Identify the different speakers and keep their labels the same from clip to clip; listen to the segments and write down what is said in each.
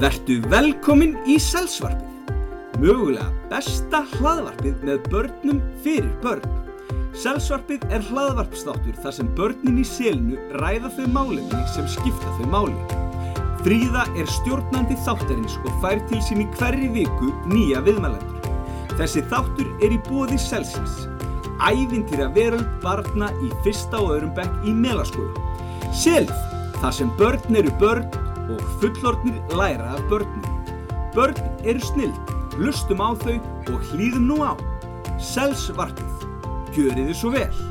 Speaker 1: Vertu velkomin í Selsvarpið, mögulega besta hlaðvarpið með börnum fyrir börn. Selsvarpið er hlaðvarpstáttur þar sem börnin í selinu ræða þau málefni sem skipta þau máli. Fríða er stjórnandi þáttarins og fær til sín í hverri viku nýja viðmælendur. Þessi þáttur er í bóði Selsins, ævintýra veröld barna í fyrsta og öðrum bekk í melaskólu. Selð, þar sem börn eru börn og fullornir læra af börnum. Börn eru snild, hlustum á þau og hlýðum nú á. Selsvarpið, gjörið þið svo vel.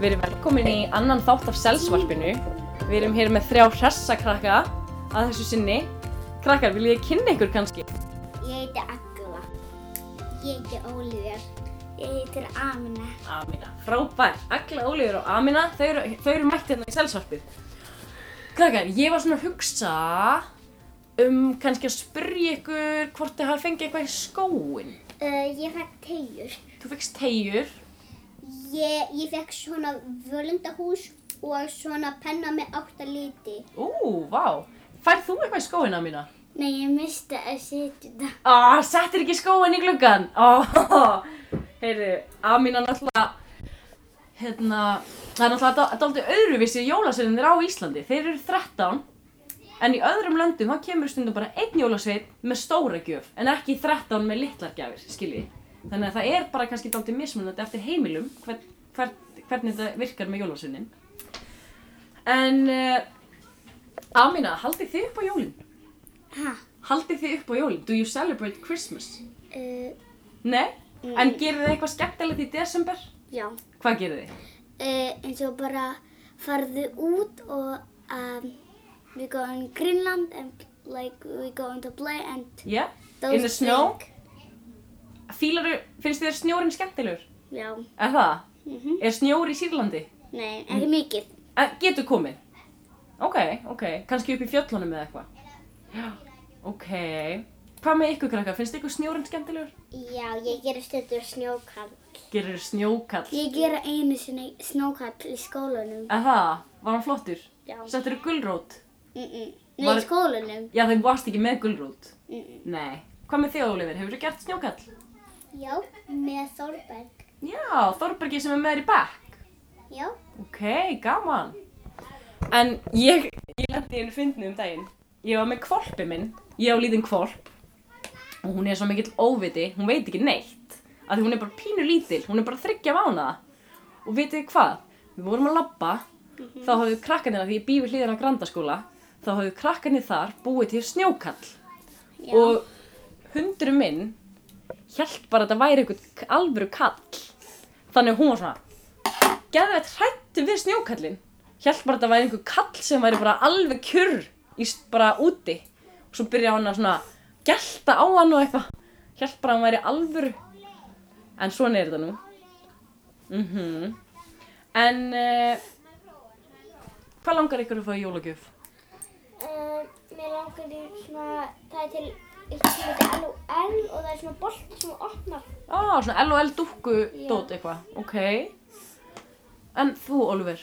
Speaker 2: Við erum velkomin í annan þátt af selsvarpinu. Við erum hér með þrjá hressakrakka að þessu sinni. Krakkar, viljið þið kynna ykkur kannski?
Speaker 3: Ég heiti Agla. Ég heiti Ólífur. Ég heitir Amina.
Speaker 2: Amina. Frábær. Agla, Ólíður og Amina, þau eru, þau eru mætt hérna í selsvarpið. Krakkar, ég var svona að hugsa um kannski að spyrja ykkur hvort þið hafa fengið eitthvað í skóin.
Speaker 3: Uh, ég fekk tegjur.
Speaker 2: Þú fegst tegjur.
Speaker 3: Ég, ég fekk svona völundahús og svona penna með átta liti.
Speaker 2: Ú, vá. Færð þú eitthvað í skóin, Amina?
Speaker 3: Nei, ég misti að setja það.
Speaker 2: Ah, settir ekki skóin í gluggan. Ah, heyrðu, Amina náttúrulega, hérna, það er náttúrulega dál- dálítið öðruvísi jólasveitinir á Íslandi. Þeir eru 13, en í öðrum löndum þá kemur stundum bara einn jólasveit með stóra gjöf, en ekki 13 með litlar gjafir, skiljið. Þannig að það er bara kannski dálítið mismunandi eftir heimilum hver, hver, hvernig þetta virkar með jólasveinin. En, uh, Amina, haldið þið upp á jólinn?
Speaker 3: Hæ?
Speaker 2: Haldið þið upp á jólinn? Do you celebrate Christmas?
Speaker 3: Uh,
Speaker 2: Nei?
Speaker 3: Mm.
Speaker 2: En gerið þið eitthvað skemmtilegt í desember?
Speaker 3: já.
Speaker 2: Hvað gerið þið?
Speaker 3: Uh, eins og bara farðu út og um, we go in Greenland and like we go in the play and
Speaker 2: Yeah?
Speaker 3: don't
Speaker 2: In the snow?
Speaker 3: think.
Speaker 2: Fílaru, finnst þið snjórin skemmtilegur?
Speaker 3: Já.
Speaker 2: Er það?
Speaker 3: Mm
Speaker 2: Er snjór í Sýrlandi?
Speaker 3: Nei, ekki mikið.
Speaker 2: En getur komið? Ok, ok. Kanski upp í fjöllunum eða eitthvað? Já. Ok. Hvað með ykkur krakkar? Finnst ykkur snjórin skemmtilegur?
Speaker 3: Já, ég gerir stundur snjókall.
Speaker 2: Gerir þið snjókall?
Speaker 3: Ég gera einu sinni snjókall í skólanum.
Speaker 2: Er það? Var hann flottur?
Speaker 3: Já.
Speaker 2: Settur þið gulrót?
Speaker 3: Mm -mm. Nei,
Speaker 2: Var-
Speaker 3: í skólanum.
Speaker 2: Já, þau varst ekki með gulrót.
Speaker 3: Mm -mm.
Speaker 2: Nei. Hvað með þið, Ólífur? Hefur þið gert snjókall?
Speaker 3: Já, með Þorberg.
Speaker 2: Já, Þorbergi sem er með þér í bekk.
Speaker 3: Já.
Speaker 2: Ok, gaman. En ég, ég lendi í einu fyndni um daginn. Ég var með kvolpi minn. Ég á lítinn kvolp. Og hún er svo mikill óviti, hún veit ekki neitt. Af því hún er bara pínu lítil, hún er bara þryggja mánaða. Og vitið þið hvað? Við vorum að labba, þá hafðu krakkanir, af því ég bý við hlýðan á grandaskóla, þá hafðu krakkanir þar búið til snjókall.
Speaker 3: Já.
Speaker 2: Og hundurum minn hjælt bara að þetta væri einhvern alvöru kall. Þannig að hún var svona, geðveitt hrættu við snjókallin Hjælt bara að þetta væri einhver kall sem væri bara alveg kjurr í, s- bara úti og svo byrjaði hann að svona gelta á hann og eitthvað Hjælt bara að hann væri alvöru en svona er þetta nú mhm en uh, hvað langar ykkur að fá í jólagjöf?
Speaker 4: Uh, mér langar í svona, það er til eitthvað sem heitir LOL og það er svona bolti sem þú opnar.
Speaker 2: ah, svona LOL dúkku dót eitthvað, ok en þú Oliver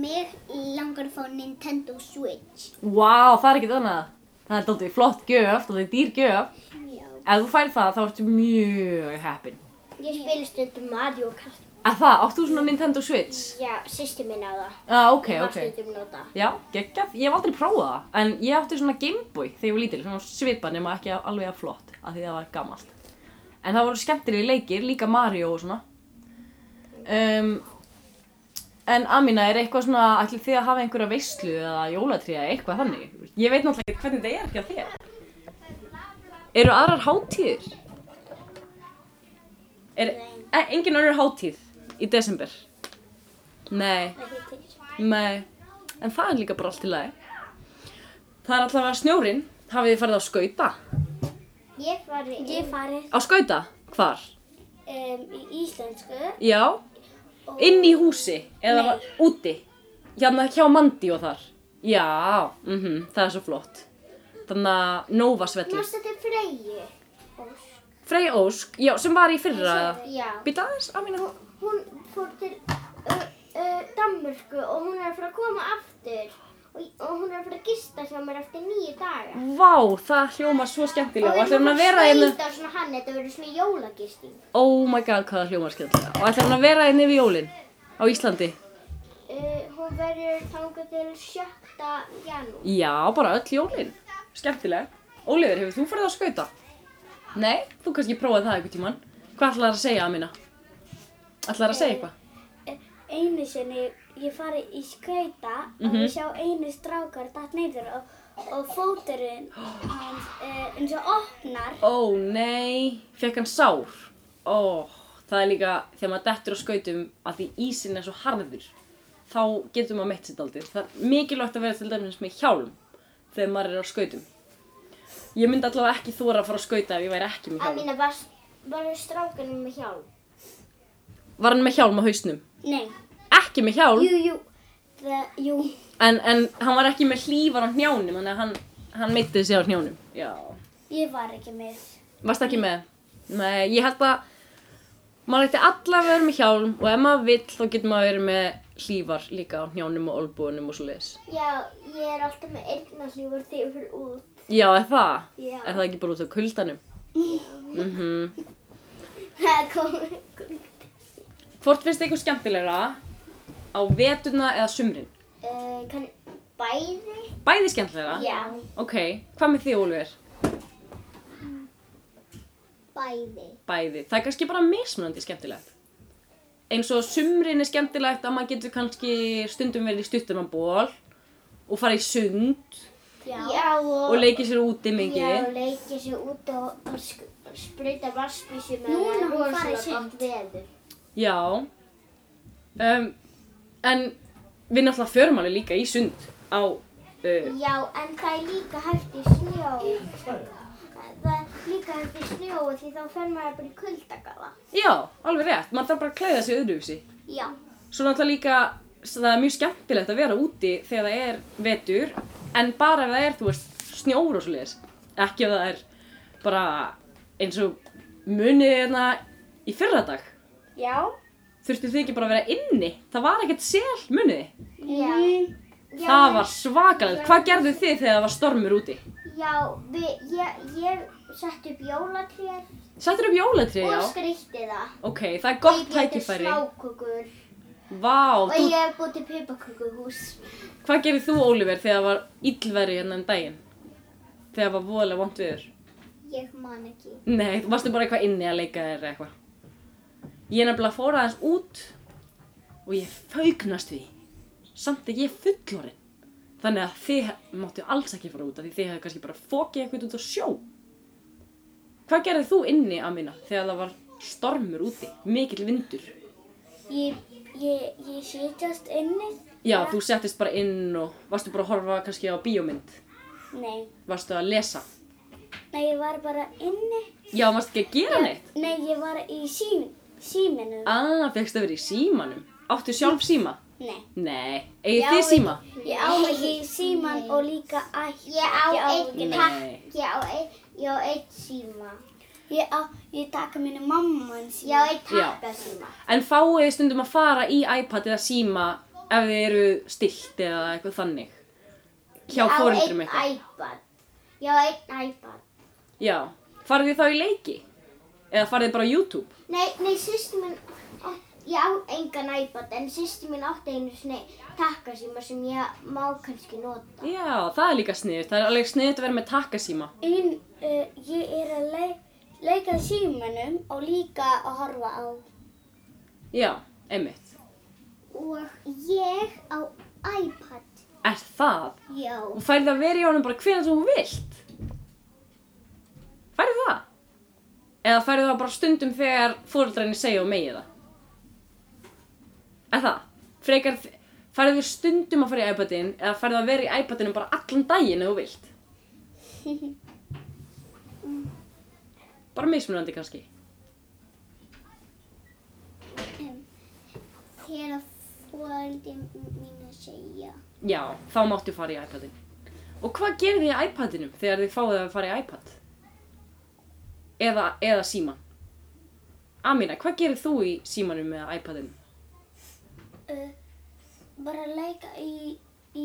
Speaker 3: Mér langar að fá Nintendo Switch.
Speaker 2: vá, það er ekki þannig það er dótið flott gjöf, dótið dýr gjöf
Speaker 3: Já.
Speaker 2: Ef þú færi það, þá ertu mjög heppin.
Speaker 4: Ég spil stundum Mario Kart.
Speaker 2: Að það, áttu svona Nintendo Switch?
Speaker 4: Já, sýsti minn á það.
Speaker 2: Ah, ok,
Speaker 4: Var
Speaker 2: ok.
Speaker 4: stundum nota.
Speaker 2: Já, geggjað. Ég hef aldrei prófað það, en ég átti svona Gameboy þegar ég var lítil, svona svipa nema ekki alveg að flott, af því það var gammalt. En það voru skemmtilegi leikir, líka Mario og svona. Um, en Amina, er eitthvað svona, ætlið þið að hafa einhverja veislu eða jólatríða eða eitthvað þannig? Ég veit náttúrulega ekki hvernig þetta er ekki að þér. Eru aðrar hátíðir? Er e, engin önnur hátíð í desember? Nei. Nei, en það er líka bara allt í lagi. Það er alltaf að snjórin, hafið þið farið á skauta?
Speaker 4: Ég fari, ég fari
Speaker 2: Á skauta? Hvar?
Speaker 4: um, í íslensku.
Speaker 2: Já, inn í húsi eða
Speaker 4: Nei.
Speaker 2: var- úti? Hérna hjá Mandi og þar? Já, mm það er svo flott. Þannig að Nova Svelli.
Speaker 4: Mástu til Freyju?
Speaker 2: Frey Ósk, já, sem var í fyrra.
Speaker 4: Já.
Speaker 2: Býta aðeins, á mínu hún.
Speaker 4: Hún fór til Ö- uh, Danmörku og hún er að fara að koma aftur og, og hún er að fara að gista hjá mér eftir nýju daga.
Speaker 2: Vá, það hljóma svo skemmtilega og
Speaker 4: og
Speaker 2: ætlar hann að vera hérna? einu
Speaker 4: Og svona hann, þetta verður svona jólagisting.
Speaker 2: Oh my god, hvað það hljóma skemmtilega og ætlar hann að vera einu við jólin á Íslandi
Speaker 4: Uh, hún verður þangað til 7. janúar.
Speaker 2: Já, bara öll jólin Skemmtilega Ólífur, hefur þú farið á skauta? Nei, þú kannski prófaði það einhvern tíman Hvað ætlar að segja, Amina? Ætlar að segja eitthvað?
Speaker 3: Einu sinni ég fari í skauta og
Speaker 2: Mhm.
Speaker 3: ég sjá einu strákar datt neyður og, og fóturinn hans uh, eins og opnar.
Speaker 2: Ó nei, fekk hann sár. Ó, það er líka þegar maður dettur á skautum að því ísinn er svo harður. Þá getur maður meitt sér daldið. Það er mikilvægt að vera til dæmis með hjálm þegar maður er á skautum. Ég myndi allavega ekki þóra að fara á skauta ef ég væri ekki með
Speaker 4: Að
Speaker 2: hjálm.
Speaker 4: mína var, var strákunum með hjálm.
Speaker 2: Var hann með hjálm á hausnum?
Speaker 3: Nei,
Speaker 2: Ekki með hjálm,
Speaker 3: jú, jú, það, jú.
Speaker 2: en, en hann var ekki með hlífar á hnjánum, þannig að hann, hann meitti sér á hnjánum. Já.
Speaker 3: Ég var ekki með.
Speaker 2: Varst ekki með? Nei, ég held að maður ætti allavega að vera með hjálm og ef maður vill þá getur maður að vera með hlífar líka á hnjánum og olbúinum og svo leiðis.
Speaker 4: Já, ég er alltaf með eyrnarhlífur þegar ég fyrir út.
Speaker 2: Já, er það?
Speaker 4: Já.
Speaker 2: Er það ekki bara út af kuldanum? Mhm.
Speaker 4: Það kom.
Speaker 2: Hvort finnst þið ykkur skemmtilegra á veturna eða sumrin?
Speaker 4: Uh, kann bæði?
Speaker 2: Bæði skemmtilegra?
Speaker 4: Já,
Speaker 2: Ok, hvað með þið Ólfur?
Speaker 4: bæði.
Speaker 2: Bæði. Það er kannski bara mismunandi skemmtilegt. Eins og á sumrin er skemmtilegt að maður getur kannski stundum verið í stuttumanból og fara í sund
Speaker 4: Já, og,
Speaker 2: og leikið sér úti mikið.
Speaker 4: Já, og leikið sér út og, og sk- sprauta vassbísum með
Speaker 3: Núna hún farið í
Speaker 4: sund.
Speaker 3: sund.
Speaker 4: Veður.
Speaker 2: Já um, En við náttúrulega förum alveg líka í sund á uh,
Speaker 4: Já, en það er líka hægt í snjó. Það er líka hægt í snjó því þá fer maður bara í kuldagafa.
Speaker 2: Já, alveg rétt, maður þarf bara að klæða sig öðruvísi
Speaker 4: Já,
Speaker 2: Svo náttúrulega líka svo það er mjög skemmtilegt að vera úti þegar það er vetur en bara ef það er, þú veist, snjór og svoleiðis ekki ef það er bara eins og munið hérna í fyrradag
Speaker 4: já,
Speaker 2: þurftu þið ekki bara að vera inni það var ekkert sel, munið þið
Speaker 4: já. já
Speaker 2: það var svakalegt, hvað gerðu þið þegar það var stormur úti?
Speaker 4: Já, við, ég, ég sett upp jólatrén
Speaker 2: Settur upp jólatrið, já
Speaker 4: og skrýtti það.
Speaker 2: Ok, það er gott
Speaker 4: Ég geti
Speaker 2: tækifæri.
Speaker 4: smákökur
Speaker 2: Vá,
Speaker 4: og
Speaker 2: þú,
Speaker 4: ég hef búið til pipakökuhús.
Speaker 2: hvað gerir þú, Ólífer, þegar það var illveri hérna um daginn? Þegar það var voðalega vond viður?
Speaker 4: Ég man ekki.
Speaker 2: Nei, þú varstu bara eitthvað inni að leika þér eða eitthvað. Ég nefnilega fór aðeins út og ég faugnast því. Samt ekki ég fullorinn. Þannig að þið máttu alls ekki fara út af því þið hefðu kannski bara fókið eitthvað út á sjó. Hvað gerðið þú inni, Amina, þegar það var stormur úti, mikill vindur?
Speaker 3: Ég, ég, ég sitjast inni.
Speaker 2: Já, þú settist bara inn og varstu bara að horfa kannski á bíómynd,
Speaker 3: Nei,
Speaker 2: varstu að lesa.
Speaker 3: nei, ég var bara inni.
Speaker 2: Já, varstu ekki að gera neitt.
Speaker 3: Nei, ég var í sím, síminu.
Speaker 2: Ah, fegstu að vera í símanum. Áttu sjálf síma?
Speaker 3: Nei.
Speaker 2: Nei, eigið
Speaker 3: Já,
Speaker 2: þið
Speaker 3: ég-
Speaker 2: síma?
Speaker 3: Ég á ekki síman og líka ætti.
Speaker 4: Ég á
Speaker 3: ekki
Speaker 4: einn takk,
Speaker 2: Nei.
Speaker 4: ég á einn, ég á einn síma.
Speaker 3: Ég á, ég taka minni mammans.
Speaker 4: Ég á einn
Speaker 2: Já.
Speaker 4: takkasíma.
Speaker 2: En fáið þið stundum að fara í iPad eða síma ef þið eru stilt eða eitthvað þannig. Hjá fórundrum
Speaker 4: Á
Speaker 2: eitthvað.
Speaker 4: einn iPad. Ég á einn iPad.
Speaker 2: Já, farið þið þá í leiki? Eða farið þið bara á YouTube?
Speaker 4: Nei, nei, sýstu mín, á- ég á engan iPad en sýstu mín átti einu sinni takkasíma sem ég má kannski nota.
Speaker 2: Já, það er líka sniðut. Það er alveg sniðut að vera með takkasíma.
Speaker 3: Ein, uh, ég er að leik, leika í símanum og líka að horfa á.
Speaker 2: Já, einmitt.
Speaker 4: Og ég á iPad.
Speaker 2: Er það?
Speaker 4: Já.
Speaker 2: og færði að vera í honum bara hvernig sem þú vilt færði það eða færði það bara stundum þegar fóreldrarnir segja og megi það er það frekar færði þér stundum að fara í iPadin eða færði að vera í iPadinu bara allan daginn ef þú vilt bara mismunandi kannski
Speaker 4: Þegar fóröldi mín að segja.
Speaker 2: já, þá máttu fara í iPadin og hvað gerir þið í iPadinum þegar þið fáið að fara í iPad eða, eða síman Amina, hvað gerir þú í símanum eða iPadinum
Speaker 3: Uh, bara að leika í, í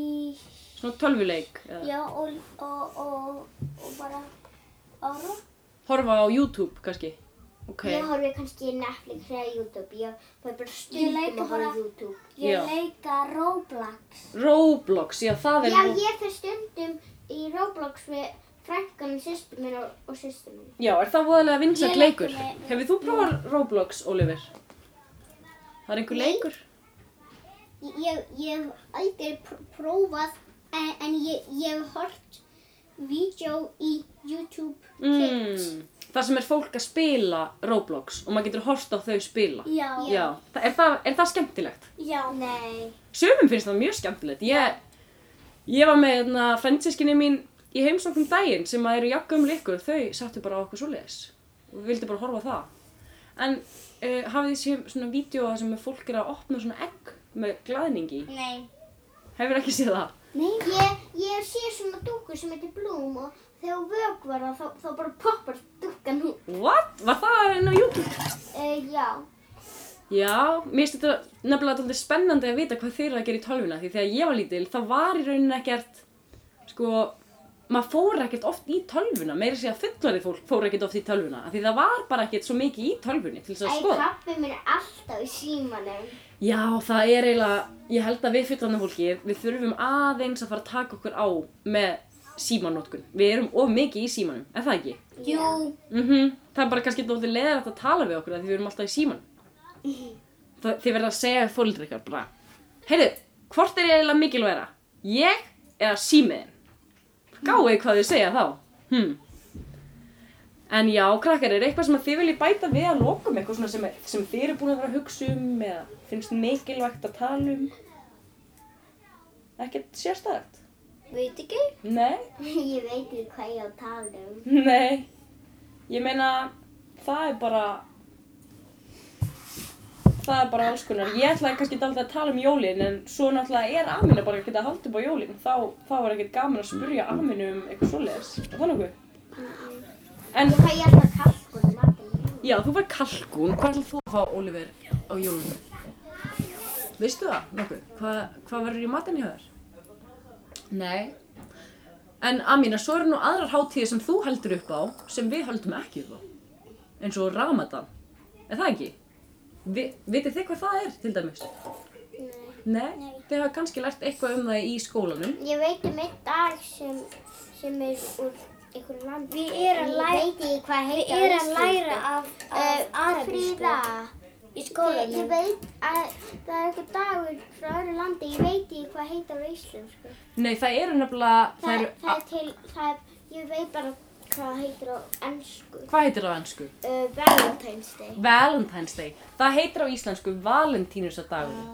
Speaker 2: Svona tölvuleik. eða
Speaker 3: já, og, og, og, og bara að rokka.
Speaker 2: Horfa á YouTube kannski. Ok.
Speaker 4: Ég horfi kannski í Netflix eða YouTube. Ég fæ bara
Speaker 3: Ég
Speaker 4: stundum
Speaker 3: leika
Speaker 4: að horfa
Speaker 3: bara-
Speaker 4: á YouTube.
Speaker 3: Ég
Speaker 2: Já.
Speaker 3: leika Roblox.
Speaker 2: Roblox, já það er
Speaker 4: Já,
Speaker 2: nú.
Speaker 4: ég fyrir stundum í Roblox við frænkan og systur minn og, og systur minn.
Speaker 2: Já, er það voðalega vinsætt
Speaker 3: Ég leik
Speaker 2: leikur?
Speaker 3: með-
Speaker 2: Hefur þú prófað Roblox, Oliver? Það er einhver leikur?
Speaker 4: Ég, ég, ég hef aldrei pr- prófað en, en ég, ég hef hort vídeo í YouTube Kids.
Speaker 2: Mm. Það sem er fólk að spila Roblox og maður getur horft á þau spila.
Speaker 3: Já.
Speaker 4: Já.
Speaker 2: Já. Það, er, það, er það skemmtilegt?
Speaker 3: Já.
Speaker 4: Nei.
Speaker 2: Sumum finnst það mjög skemmtilegt. Ég, ég var með hérna, fransískinni mín í heimsóknum daginn sem að eru jakkum leikur. Þau sattu bara á okkur svoleiðis og við vildum bara horfa á það. En uh, hafið þið séð svona vídeo þar sem fólk er að opna svona egg með glaðningi? í?
Speaker 4: Nei.
Speaker 2: Hefur ekki séð það?
Speaker 4: Nei. Ég, ég sé svona dúku sem heitir Bloom og þegar hún vökvar það þá, þá bara poppar dúkan hún.
Speaker 2: What? Var það enn á YouTube?
Speaker 4: Uh, já.
Speaker 2: Já, mér finnst þetta nefnilega alltaf spennandi að vita hvað þeir eru að gera í tölvuna því þegar ég var lítil þá var í rauninni ekkert, sko, maður fór ekkert oft í tölvuna, meira að segja fullorðið fólk fór ekkert oft í tölvuna af því það var bara ekkert svo mikið í tölvunni til þess að
Speaker 4: Æ,
Speaker 2: skoða.
Speaker 4: pappi minn er alltaf í símanum.
Speaker 2: Já, það er eiginlega, ég held að við fullorðna fólkið, við þurfum aðeins að fara að taka okkur á með símanótkun. Við erum of mikið í símanum, er það ekki?
Speaker 4: Jú.
Speaker 2: Mhm, það er bara kannski dóttir leðrætt að tala við okkur af því við erum alltaf í síman. Það, þið verða að segja við fólkið ykkar bara, heyrðu, hvort er ég eiginlega mikilværa? Ég eða símiðin? Gáið hvað þið segja þá. Hmm. En já, krakkar, er eitthvað sem að þið viljið bæta við að lokum, eitthvað svona sem, sem þið eru búin að vera að hugsa um eða finnst mikilvægt að tala um? Ekkert sérstæðagt?
Speaker 4: Veit ekki?
Speaker 2: Nei?
Speaker 4: Ég veit ekki hvað ég á að tala um.
Speaker 2: Nei, ég meina, það er bara, það er bara alls konar. Ég ætlaði kannski alltaf að tala um jólin, en svo náttúrulega er Amina bara ekkert að halda upp á jólin. Þá, þá er ekkert gaman að spurja Aminu um eitthvað svoleiðis. Er það nokkuð? En,
Speaker 4: Ég fæ alltaf kalkun matinn.
Speaker 2: já, þú var kalkun. Hvað ætlaði þú að fá, Oliver, á jólunum? Veistu það nokkuð? Hva, hvað verður í matinn hjá þér? Nei. En Amina, svo eru nú aðrar hátíðir sem þú heldur upp á sem við höldum ekki upp á. Eins og Ramadan. Er það ekki? Vi, vitið þið hvað það er til dæmis? Nei. Nei? Þið hafa kannski lært eitthvað um það í skólanum.
Speaker 4: Ég veit um einn dag sem, sem er úr einhverju landi.
Speaker 3: Við erum að
Speaker 4: En
Speaker 3: læra-
Speaker 4: Ég veit ekki hvað
Speaker 3: Við
Speaker 4: heita
Speaker 3: erum að læra af, af
Speaker 4: uh,
Speaker 3: arabísku
Speaker 4: Fríða,
Speaker 3: í
Speaker 4: ég, ég
Speaker 3: skólanum.
Speaker 4: veit að það er einhver dagur frá öðru landi, ég veit ekki hvað heita á íslensku.
Speaker 2: Nei, það eru nefnilega, það
Speaker 4: Það,
Speaker 2: eru,
Speaker 4: það er til, það er, ég veit bara hvað það heitir á ennsku.
Speaker 2: hvað heitir það á ennsku?
Speaker 4: Uh, Valentine's Day.
Speaker 2: Valentine's Day. Það heitir á íslensku Valentínusadagur.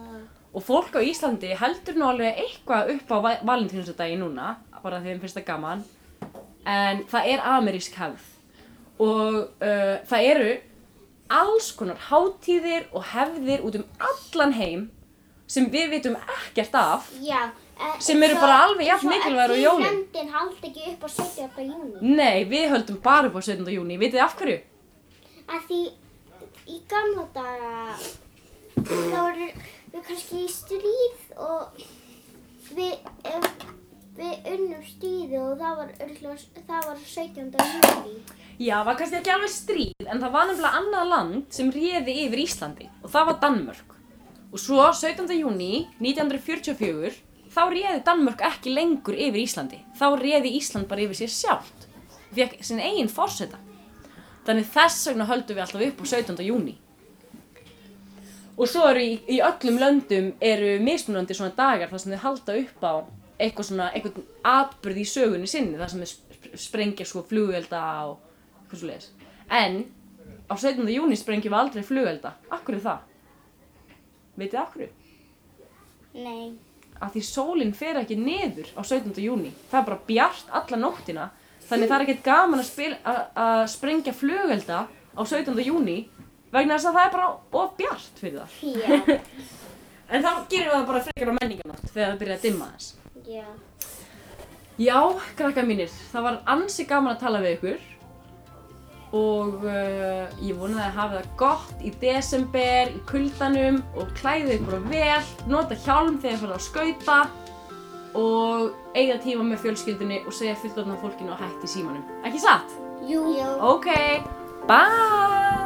Speaker 2: Og fólk á Íslandi heldur nú alveg eitthvað upp á va- Valentínusdagi núna, bara því þeim finnst það gaman. En það er amerísk hefð. Og uh, það eru alls konar hátíðir og hefðir út um allan heim sem við vitum ekkert af.
Speaker 4: Já. eh,
Speaker 2: Sem eru
Speaker 4: svo-
Speaker 2: bara alveg jafn mikilvægar og jólin.
Speaker 4: Svo að tílöndin haldi ekki upp á 17. júni.
Speaker 2: Nei, við höldum bara upp á 17. júni. Vitið þið af hverju?
Speaker 4: að því í gamla daga þá voru við kannski í stríð og við, eh, við unnum stríði og það var, örugglega- það var 17. júli.
Speaker 2: Já, var kannski ekki alveg stríð, en það var nefnilega annað land sem réði yfir Íslandi og það var Danmörk. Og svo 17. júni 1944, þá réði Danmörk ekki lengur yfir Íslandi. Þá réði Ísland bara yfir sér sjálft. Fekk sinn eigin fórseta. Þannig þess vegna höldum við alltaf upp á 17. júni. Og svo eru í, í öllum löndum eru mismunandi svona dagar þar sem þau halda upp á eitthvað svona, eitthvað atbyrð í sögunni sinni þar sem þau sp- sprengja sko flugvelda og eitthvað svo En á 17. júni sprengjum við aldrei flugvelda. Akkur er það? Vitið akkur?
Speaker 4: Nei.
Speaker 2: Af því sólinn fer ekki niður á 17. júni. Það er bara bjart alla nóttina. Þannig það er ekkert gaman að, spil, a, að sprengja flugvelda á 17. júni vegna þess að það er bara of bjart fyrir það.
Speaker 4: Já.
Speaker 2: En þá gerum við það bara frekar á menningarnátt þegar það byrja að dimma þess.
Speaker 4: Já.
Speaker 2: Já, krakka mínir, það var ansi gaman að tala við ykkur. og uh, ég vona að þið hafið það gott í desember, í kuldanum og klæðið ykkur á vel, nota hjálm þegar þið farið á skauta og eiga tíma með fjölskyldunni og segja fullorðna fólkinu að hætti símanum. Ekki satt?
Speaker 4: Jú. Jú.
Speaker 2: Ok, bye!